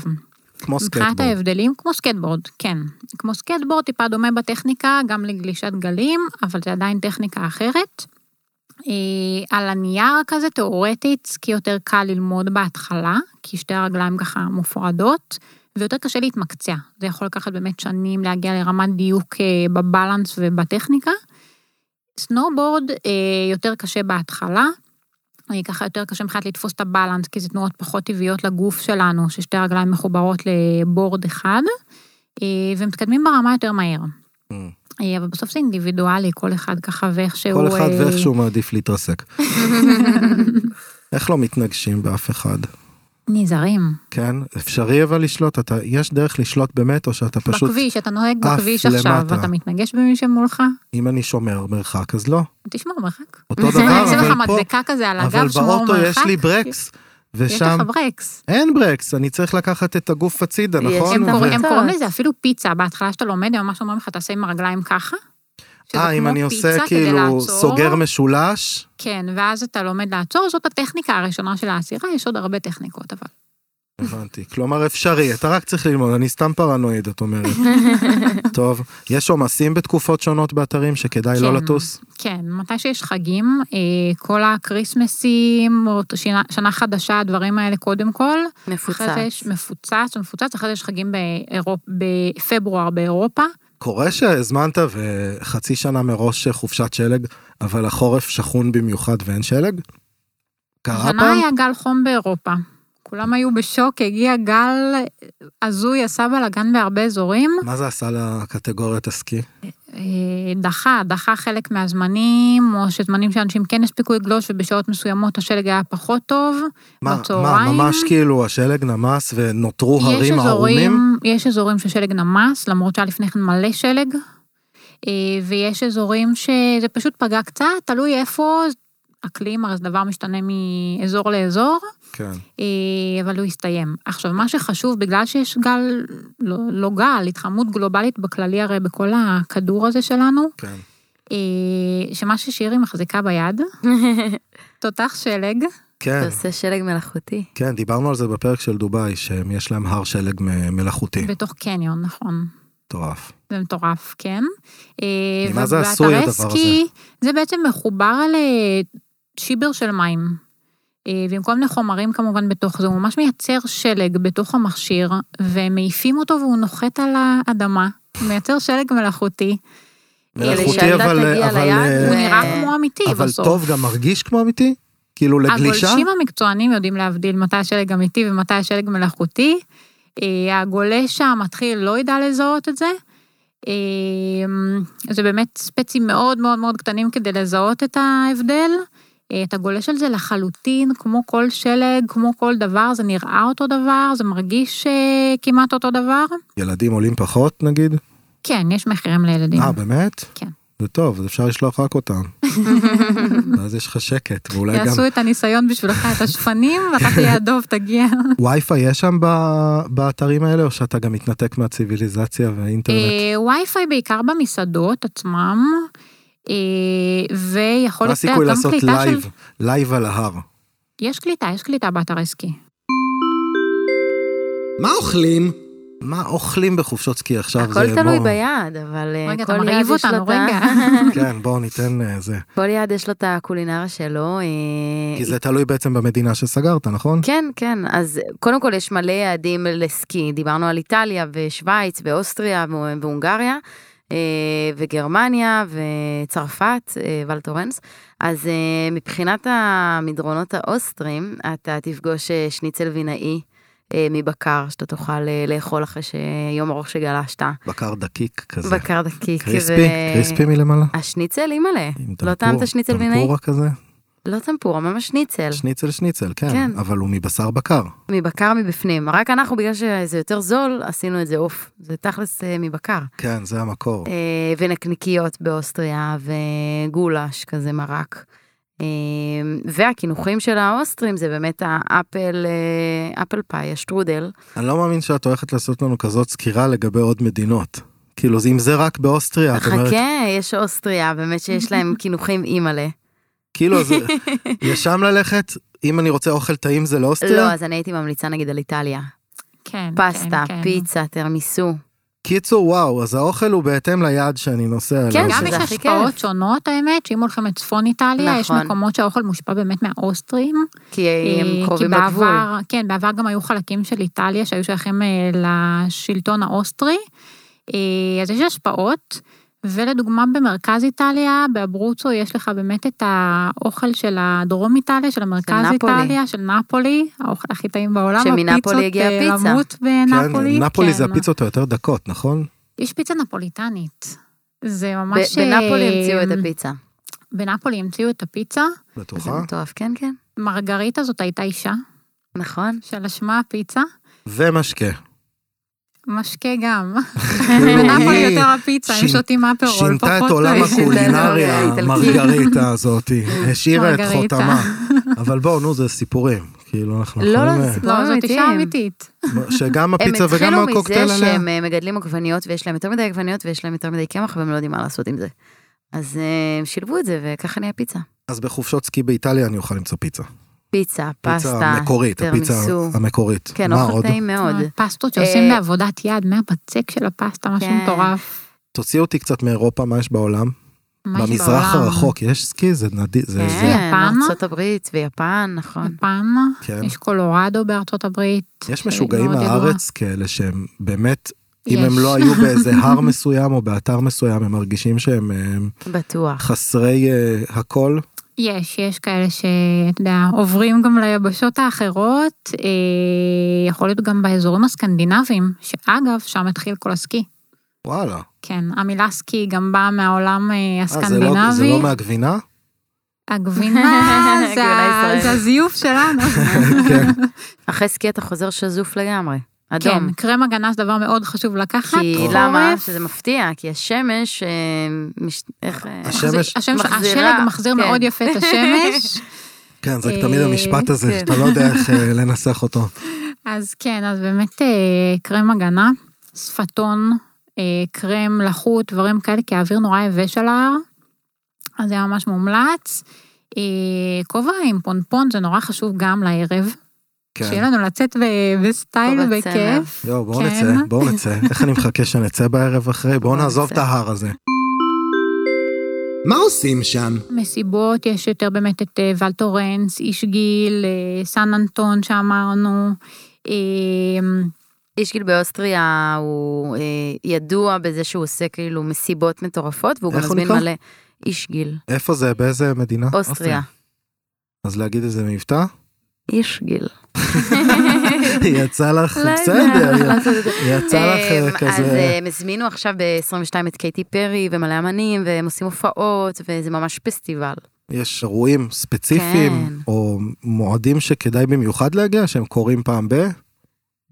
כמו מבחינת סקייטבורד. ההבדלים, כמו סקטבורד, כן. כמו סקטבורד, טיפה דומה בטכניקה, גם לגלישת גלים, אבל זה עדיין טכניקה אחרת. אה, על הנייר כזה, תיאורטית, סקי יותר קל ללמוד בהתחלה, כי שתי הרגליים ככה מופרדות, ויותר קשה להתמקצע. זה יכול לקחת באמת שנים להגיע לרמת דיוק אה, בבלנס ובטכניקה. סנואובורד אה, יותר קשה בהתחלה, אה, ככה יותר קשה מבחינת לתפוס את הבלנס, כי זה תנועות פחות טבעיות לגוף שלנו, ששתי הרגליים מחוברות לבורד אחד, אה, ומתקדמים ברמה יותר מהר. Mm. אה, אבל בסוף זה אינדיבידואלי, כל אחד ככה ואיך שהוא... כל אחד אה, ואיך שהוא מעדיף להתרסק. איך לא מתנגשים באף אחד? נזהרים. כן, אפשרי אבל לשלוט, אתה, יש דרך לשלוט באמת, או שאתה פשוט, בכביש, אתה נוהג עף בכביש עכשיו, למטה. ואתה מתנגש במי שמולך, אם אני שומר מרחק, אז לא. תשמור מרחק. אותו אני דבר, אשים לך אבל פה, מדבקה כזה על אבל הגב, שמור מרחק. באוטו יש לי ברקס, יש ושם לך ברקס. אין ברקס, אני צריך לקחת את הגוף הצידה, יש, נכון? הם נו, ו- קורא- הם ו- קוראים לזה אפילו פיצה, בהתחלה שאתה לומד, הם ממש אומרים לך, תעשה עם הרגליים ככה. שזה אה, אם כמו אני עושה פיצה כדי כאילו לעצור. סוגר משולש, כן, ואז אתה לומד לעצור, זאת הטכניקה הראשונה של העצירה, יש עוד הרבה טכניקות, אבל... הבנתי. כלומר, אפשרי, אתה רק צריך ללמוד, אני סתם פרנואיד, את אומרת. טוב, יש עומסים בתקופות שונות באתרים שכדאי לא כן. לטוס? כן, מתי שיש חגים, אה, כל הקריסמסים, או שנה, שנה חדשה, הדברים האלה קודם כל. אחרי זה יש מפוצץ. מפוצץ, מפוצץ, אחרי זה יש חגים באירופ, בפברואר באירופה. קורה שהזמנת וחצי שנה מראש חופשת שלג, אבל החורף שכון במיוחד ואין שלג? קרה השנה פעם? היה גל חום באירופה. כולם היו בשוק, הגיע אה, גל הזוי, עשה בלאגן בהרבה אזורים. מה זה עשה לקטגוריית הסקי? אה, דחה, דחה חלק מהזמנים, או שזמנים שאנשים כן הספיקו לגלוש ובשעות מסוימות השלג היה פחות טוב, מה, מה, בצהריים. ממש כאילו השלג נמס ונותרו יש הרים ערומים? אזורים, יש אזורים ששלג נמס, למרות שהיה לפני כן מלא שלג, אה, ויש אזורים שזה פשוט פגע קצת, תלוי איפה, אקלים, הרי זה דבר משתנה מאזור לאזור. כן. אה, אבל הוא הסתיים. עכשיו, מה שחשוב, בגלל שיש גל, לא, לא גל, התחממות גלובלית בכללי הרי בכל הכדור הזה שלנו, כן. אה, שמה ששירי מחזיקה ביד, תותח שלג, כן, זה עושה שלג מלאכותי. כן, דיברנו על זה בפרק של דובאי, שיש להם הר שלג מ- מלאכותי. בתוך קניון, נכון. מטורף. זה מטורף, כן. אה, ממה זה ובאתרי עשוי הדבר סקי, זה בעצם מחובר לשיבר של מים. אה, במקום לחומרים כמובן בתוך זה, הוא ממש מייצר שלג בתוך המכשיר, ומעיפים אותו והוא נוחת על האדמה, מייצר שלג מלאכותי. מלאכותי, כשהילדה אבל... תגיע אבל, ליעד, אה, הוא ו- נראה כמו אמיתי אבל בסוף. טוב גם מרגיש כמו אמיתי? כאילו לגלישה? הגולשים המקצוענים יודעים להבדיל מתי השלג אמיתי ומתי השלג מלאכותי. אה, הגולש המתחיל לא ידע לזהות את זה. אה, זה באמת ספצים מאוד מאוד מאוד קטנים כדי לזהות את ההבדל. אה, אתה גולש על זה לחלוטין, כמו כל שלג, כמו כל דבר, זה נראה אותו דבר, זה מרגיש אה, כמעט אותו דבר. ילדים עולים פחות נגיד? כן, יש מחירים לילדים. אה, באמת? כן. זה טוב, אז אפשר לשלוח רק אותם. ואז יש לך שקט, ואולי גם... יעשו את הניסיון בשבילך, את השפנים, ואתה תהיה הדוב, תגיע. וי-פיי יש שם ב- באתרים האלה, או שאתה גם מתנתק מהציוויליזציה והאינטרנט? אה, וי-פיי בעיקר במסעדות עצמם, אה, ויכול מה להיות אה, הסיכוי גם לעשות קליטה לייב, של... לייב על ההר? יש קליטה, יש קליטה באתר עסקי. מה אוכלים? מה אוכלים בחופשות סקי עכשיו? הכל זה תלוי בוא- ביד, אבל אה, רגע, אתה כל יד מרעיב יש לו אותנו, את ה... רגע. כן, בואו ניתן אה, זה. כל יד יש לו את הקולינריה שלו. אה, כי זה תלוי בעצם במדינה שסגרת, נכון? כן, כן, אז קודם כל יש מלא יעדים לסקי, דיברנו על איטליה ושווייץ ואוסטריה והונ- והונגריה אה, וגרמניה וצרפת, אה, ולטורנס, אז אה, מבחינת המדרונות האוסטרים, אתה תפגוש אה, שניצל וינאי אה, מבקר, שאתה תוכל אה, לאכול אחרי שיום ארוך שגלשת, בקר דקיק כזה. בקר דקיק. קריספי, ו- קריספי מלמעלה. השניצל, אימא'לה, עם לא טמפור- טעמת שניצל וינאי? טמפורה כזה? לא טמפורה, ממש שניצל. שניצל שניצל, כן. כן. אבל הוא מבשר בקר. מבקר מבפנים, רק אנחנו בגלל שזה יותר זול, עשינו את זה עוף, זה תכלס אה, מבקר. כן, זה המקור. אה, ונקניקיות באוסטריה, וגולש כזה מרק. אה, והקינוחים של האוסטרים זה באמת האפל, אה, אפל פאי, השטרודל. אני לא מאמין שאת הולכת לעשות לנו כזאת סקירה לגבי עוד מדינות. כאילו, זה- אם זה רק באוסטריה, את אומרת, חכה, אה, כן, יש אוסטריה, באמת שיש להם קינוחים אימאלה. כאילו, זה... לשם ללכת, אם אני רוצה אוכל טעים זה לא, לאוסטריה? אז אני הייתי ממליצה נגיד על איטליה. כן, פסטה, כן, כן. פיצה, תרמיסו. קיצור, וואו, אז האוכל הוא בהתאם ליעד שאני נוסע אליו. כן, גם זה- יש שזה הכי השפעות כיף. שונות, האמת, שאם הולכים לצפון איטליה, יש נכון. מקומות שהאוכל מושפע באמת מהאוסטרים. כי אה, הם קרובים כי לגבול. בעבר, כן, בעבר גם היו חלקים של איטליה שהיו שייכים אה, לשלטון האוסטרי, אה, אז יש השפעות, ולדוגמה במרכז איטליה, באברוצו יש לך באמת את האוכל של הדרום איטליה, של המרכז של נפולי. איטליה, של נפולי, האוכל הכי טעים בעולם, שמנפולי הפיצות, הגיעה אה, הפיצה. רמות בנפולי. כן, נפולי זה כן. הפיצות היותר דקות, נכון? יש פיצה נפוליטנית. זה ב- ממש... בנפולי המציאו את אה, הפיצה. בנפולי המציאו את הפיצה. זה בטוחה. מטורף, כן, כן. מרגריטה זאת הייתה אישה, נכון. של אשמה הפיצה. ומשקה. משקה גם. כאילו, בנאפולי היא יותר הפיצה, הם שינ- שותים אפרול, פחות... שינתה את עולם טעים. הקולינריה, לא האיטלקית. המרגריטה הזאתי. השאירה את מרגריטה. חותמה. אבל בואו, נו, זה סיפורים. כאילו, אנחנו לא, יכולים... לא, אה, זה לא, זאת אישה אמיתיים. אמיתית. שגם הם הפיצה וגם התחילו הקוקטייל מזה עליה. שהם אה, מגדלים עגבניות ויש להם יותר מדי עגבניות ויש להם יותר מדי קמח והם לא יודעים מה לעשות עם זה. אז אה, הם שילבו את זה וככה נהיה פיצה. אז בחופשות סקי באיטליה אני אוכל למצוא פיצה. פיצה, פיצה פסטה, המקורית, הפיצה תרמיסו. המקורית. כן, מה אוכל עוד? טעים מאוד. פסטות שעושים אה, בעבודת יד, מהבצק של הפסטה, משהו כן. מטורף. תוציאו אותי קצת מאירופה, מה יש בעולם? ממש במזרח בעולם. הרחוק יש סקי? זה נדיר, זה... זה- כן, יפן? ארצות הברית ויפן, נכון. יפן, כן. יש קולורדו בארצות הברית. יש אה, שהיא משוגעים מאוד ידועה. מהארץ כאלה שהם באמת, אם יש. הם לא היו באיזה הר מסוים או באתר מסוים, הם מרגישים שהם אה, בטוח. חסרי אה, הכל. יש, יש כאלה שאתה יודע, עוברים גם ליבשות האחרות, אה, יכול להיות גם באזורים הסקנדינביים, שאגב, שם התחיל כל הסקי. וואלה. כן, המילה סקי גם באה מהעולם אה, אה, זה לא- זה הסקנדינבי. לא מהגבינה? הגבינה זה גאולה ה- ישראל. זה הזיוף שלנו. כן. אחרי סקי אתה חוזר שזוף לגמרי. אדום. כן, קרם הגנה זה דבר מאוד חשוב לקחת. כי חורף. למה? שזה מפתיע, כי השמש, אה, מש- איך... אה, השמש- מחזיר- השמש- מחזירה, השלג מחזיר כן. מאוד יפה את השמש. כן, זה תמיד אה, המשפט הזה, כן. שאתה לא יודע איך אה, לנסח אותו. אז כן, אז באמת אה, קרם הגנה, שפתון, אה, קרם לחות, דברים כאלה, כי האוויר נורא יבש על ההר, אז זה ממש מומלץ. אה, כובע עם פונפון זה נורא חשוב גם לערב, שיהיה כן. לנו לצאת ב- בסטייל כובע צמר. ובכיף. יואו, בואו כן. נצא, בואו נצא. איך אני מחכה שנצא בערב אחרי? בואו בואו נעזוב נצא. את ההר הזה. מה עושים שם? מסיבות, יש יותר באמת את אה, ואל טורנס, איש גיל, אה, סן אנטון שאמרנו. אה, איש גיל באוסטריה הוא אה, ידוע בזה שהוא עושה כאילו מסיבות מטורפות, והוא גם איך הוא מזמין נקרא? מלא איש גיל, איפה זה? באיזה מדינה? אוסטריה. אז להגיד איזה מבטא? איש גיל. יצא לך, לא יודעת בסדר. לעשות את זה. יצא לך אמ, אה, אז כזה... אה, הם הזמינו עכשיו ב-22 את קייטי פרי ומלא אמנים, והם עושים הופעות, וזה ממש פסטיבל. יש אירועים ספציפיים, כן. או מועדים שכדאי במיוחד להגיע, שהם קורים פעם אה, ב...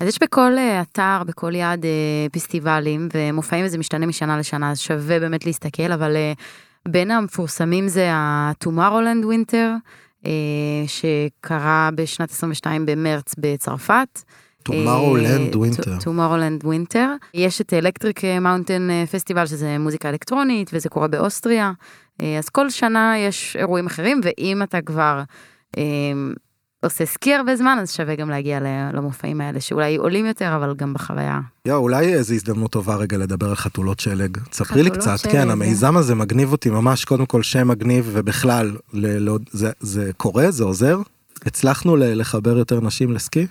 אז יש בכל אה, אתר, בכל יעד אה, פסטיבלים ומופעים, וזה משתנה משנה לשנה, אז שווה באמת להסתכל, אבל אה, בין המפורסמים זה ה-Tomorrowland Winter, אה, שקרה בשנת 22 במרץ בצרפת. טומארולנד אה, ווינטר. ט- Tomorrowland Winter. יש את אה, אלקטריק מאונטן פסטיבל, שזה מוזיקה אלקטרונית, וזה קורה באוסטריה. אה, אז כל שנה יש אירועים אחרים, ואם אתה כבר אה, עושה סקי הרבה זמן, אז שווה גם להגיע ל- למופעים האלה, שאולי עולים יותר, אבל גם בחוויה. יואו, אולי איזו הזדמנות טובה רגע לדבר על חתולות שלג. תספרי לי חתולות קצת, שלג, כן, זה- המיזם הזה מגניב אותי ממש, קודם כל שם מגניב, ובכלל, ל- לא- זה- זה קורה? זה עוזר? הצלחנו ל- לחבר יותר נשים לסקי?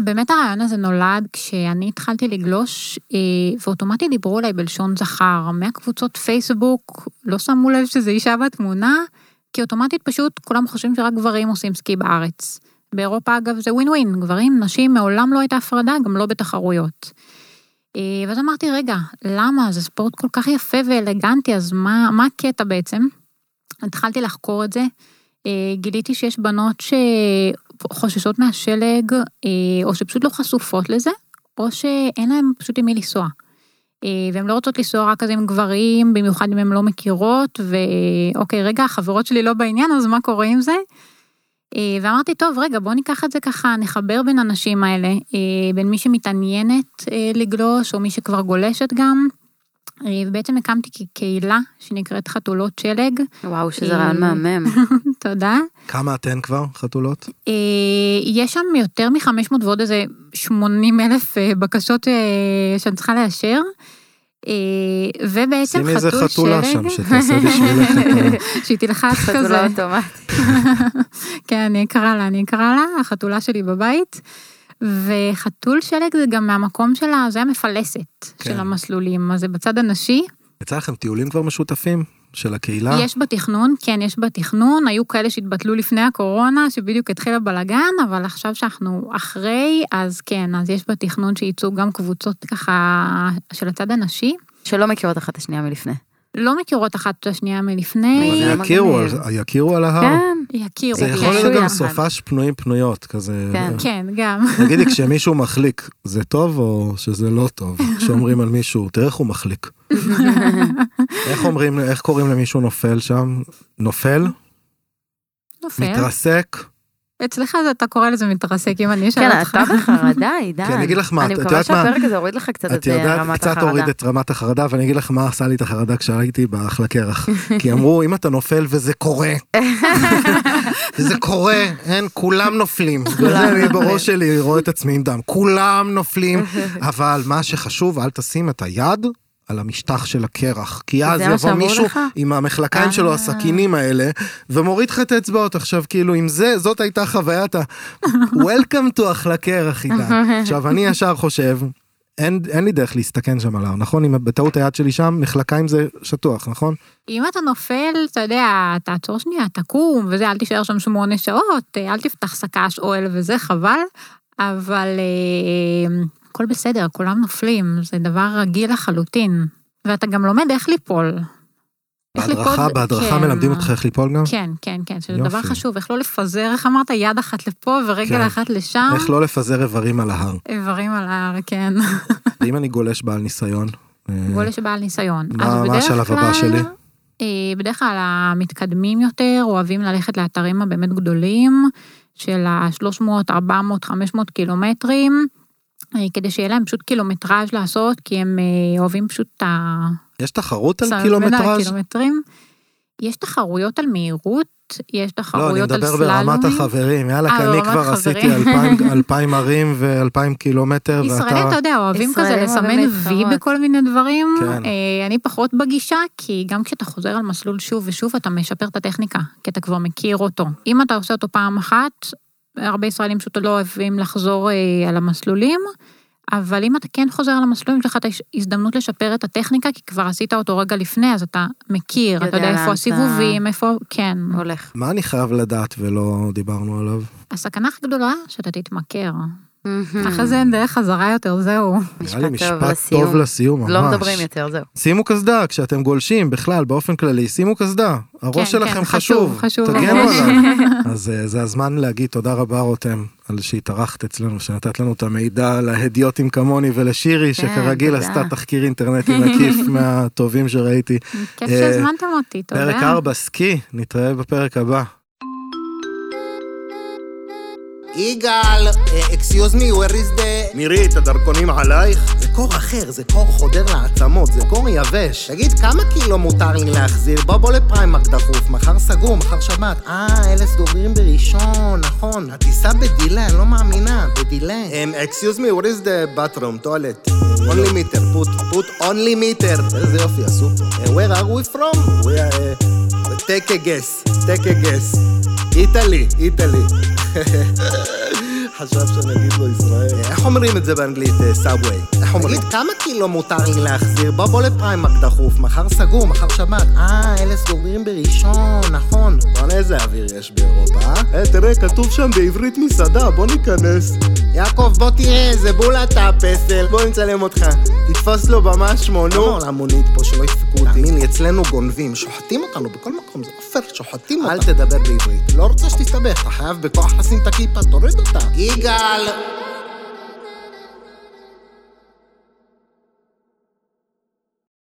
באמת הרעיון הזה נולד כשאני התחלתי לגלוש, אה, ואוטומטית דיברו אליי בלשון זכר. מהקבוצות פייסבוק, לא שמו לב שזה אישה בתמונה, כי אוטומטית פשוט כולם חושבים שרק גברים עושים סקי בארץ. באירופה, אגב, זה ווין ווין, גברים, נשים, מעולם לא הייתה הפרדה, גם לא בתחרויות. אה, ואז אמרתי, רגע, למה? זה ספורט כל כך יפה ואלגנטי, אז מה, מה הקטע בעצם? התחלתי לחקור את זה, אה, גיליתי שיש בנות שחוששות מהשלג, אה, או שפשוט לא חשופות לזה, או שאין להן פשוט עם מי לנסוע. אה, והן לא רוצות לנסוע רק אז עם גברים, במיוחד אם הן לא מכירות, ואוקיי, רגע, החברות שלי לא בעניין, אז מה קורה עם זה? אה, ואמרתי, טוב, רגע, בואו ניקח את זה ככה, נחבר בין הנשים האלה, אה, בין מי שמתעניינת אה, לגלוש, או מי שכבר גולשת גם. אה, ובעצם הקמתי כ- קהילה שנקראת חתולות שלג, וואו, שזה אה, רעיון מהמם. תודה. כמה אתן כבר חתולות? אה, יש שם יותר מ-500 ועוד איזה 80 אלף בקשות אה, שאני צריכה לאשר. אה, ובעצם שימי איזה חתול חתולה שם שלג, שתעשה בשבילך את ה... שהיא תלחץ זה כזה, לא אוטומט. כן אני אקרא לה, אני אקרא לה, החתולה שלי בבית. וחתול שלג זה גם מהמקום שלה, זה המפלסת כן. של המסלולים, אז זה בצד הנשי. יצא לכם טיולים כבר משותפים? של הקהילה? יש בתכנון, כן, יש בתכנון, היו כאלה שהתבטלו לפני הקורונה, שבדיוק התחיל הבלגן, אבל עכשיו שאנחנו אחרי, אז כן, אז יש בתכנון שייצאו גם קבוצות ככה של הצד הנשי. שלא מכירות אחת את השנייה מלפני. לא מכירות אחת את השנייה מלפני, זה אבל יכירו, מגניב. על- יכירו על ההר? כן. יכירו. זה יכול כן. להיות גם יחד. סופש פנויים פנויות, כזה... כן. כן, גם. תגידי, כשמישהו מחליק, זה טוב או שזה לא טוב? כשאומרים על מישהו, תראה איך הוא מחליק. כן, איך אומרים, איך קוראים למישהו נופל שם? נופל? נופל. מתרסק? אצלך זה- אתה קורא לזה מתרסק, אם אני כן, אשאל אותך. אתה בחרדה, עידן. כן, אני אגיד לך מה, אני את מקווה יודעת מה? שהפרק הזה הוריד לך את קצת את אה, רמת החרדה. יודעת, קצת הוריד את רמת החרדה, ואני אגיד לך מה עשה לי את החרדה כשהייתי באחלה קרח. כי אמרו, אם אתה נופל וזה קורה, וזה קורה, אין, כולם נופלים. וזה אני בראש שלי רואה את עצמי עם דם, כולם נופלים, אבל מה שחשוב, אל תשים את היד. על המשטח של הקרח, כי אז זה מה יבוא שאמרו מישהו לך? עם המחלקיים שלו, אה. הסכינים האלה, ומוריד לך את האצבעות. עכשיו, כאילו, אם זה, זאת הייתה חוויית ה... Welcome to אחלה קרח, עידן. עכשיו, אני ישר חושב, אין, אין לי דרך להסתכן שם על ההר, נכון? אם בטעות היד שלי שם, מחלקיים זה שטוח, נכון? אם אתה נופל, אתה יודע, תעצור שנייה, תקום, וזה, אל תישאר שם שמונה שעות, אה, אל תפתח שק"ש אוהל וזה, חבל. אבל אה, הכל בסדר, כולם נופלים, זה דבר רגיל לחלוטין. ואתה גם לומד איך ליפול. איך בהדרכה, ליפול- בהדרכה כן. מלמדים אותך איך ליפול גם? כן, כן, כן, שזה יופי. דבר חשוב, איך לא לפזר, איך אמרת, יד אחת לפה ורגל כן. אחת לשם, איך לא אה. לפזר איברים על ההר. איברים על ההר, כן. אם אני גולש בעל ניסיון, אה, גולש בעל ניסיון. מה- אז מה בדרך השלב הבא כלל, שלי? אה, בדרך כלל המתקדמים יותר אוהבים ללכת לאתרים הבאמת גדולים, של ה-300, 400, 500 קילומטרים, אה, כדי שיהיה להם פשוט קילומטראז' לעשות, כי הם אה, אוהבים פשוט את ה... יש תחרות על סל- בין קילומטראז'? הקילומטרים. יש תחרויות על מהירות, יש לא, אני תחרויות על מדבר סללומים. ברמת החברים, יאללה, אה, כי אני ברמת כבר החברים. עשיתי אלפיים- אלפיים ערים ואלפיים קילומטר, ישראלים, ואתה... אתה יודע, אוהבים כזה ישראלים לסמן אוהבים וי להתחרות. בכל מיני דברים. כן. אה, אני פחות בגישה, כי גם כשאתה חוזר על מסלול שוב ושוב, אתה משפר את הטכניקה, כי אתה כבר מכיר אותו. אם אתה עושה אותו פעם אחת, הרבה ישראלים פשוט לא אוהבים לחזור אה, על המסלולים, אבל אם אתה כן חוזר על המסלולים, יש לך את ההזדמנות לשפר את הטכניקה, כי כבר עשית אותו רגע לפני, אז אתה מכיר, אתה יודע יודע לאן איפה אתה- הסיבובים, איפה... כן. הולך. מה אני חייב לדעת ולא דיברנו עליו? הסכנה הכי גדולה, שאתה תתמכר. Hmm. אחרי זה אין דרך חזרה יותר, זהו. נראה לי משפט טוב לסיום, ממש. לא מדברים יותר, זהו. שימו קסדה כשאתם גולשים, בכלל, באופן כללי, שימו קסדה. הראש כן, שלכם כן, חשוב, חשוב, חשוב תגנו ממש. עליו. אז אה, זה הזמן להגיד תודה רבה, רותם, על שהתארחת אצלנו, שנתת לנו את המידע להדיוטים כמוני ולשירי, כן, שכרגיל תודה. עשתה תחקיר אינטרנטי מקיף מהטובים שראיתי. כיף אה, שהזמנתם אותי, תודה. פרק 4, סקי, נתראה בפרק הבא. יגאל, אקסיוז מי, where is the... מירי, את הדרכונים עלייך? זה קור אחר, זה קור חודר לעצמות, זה קור יבש. תגיד, כמה קילו מותר לי להחזיר? בוא בוא לפריימרק דחוף, מחר סגור, מחר שבת. אה, אלה סגורים בראשון, נכון. הטיסה בדילה, אני לא מאמינה, אמ, בדילה. אקסיוז מי, where is the bathroom, טואלט? אונלי מיטר, פוט, פוט אונלי מיטר. איזה יופי, עשו פה. where are we אה, from? We are, uh, take a guess, take a guess. איטלי, איטלי. חשב שנגיד לו ישראל. איך אומרים את זה באנגלית, אה, סאבווי? איך אומרים? תגיד, כמה קילו מותר לי להחזיר? בוא בוא לפריימרק דחוף, מחר סגור, מחר שבת. אה, אלה סגורים בראשון, נכון. בואנה איזה אוויר יש באירופה, אה? אה, תראה, כתוב שם בעברית מסעדה, בוא ניכנס. יעקב, בוא תראה, זה בולת הפסל. בוא נצלם אותך, תתפוס לו במה שמו, נו, נו. למונית פה, שלא ידפקו אותי. תאמין לי, אצלנו גונבים, שוחטים אותנו בכל מקום, זה לא פייר, שוחטים אותנו. אל תדבר בעברית. לא רוצה שתסתבך, אתה חייב בכוח לשים את הכיפה, תוריד אותה. יגאל!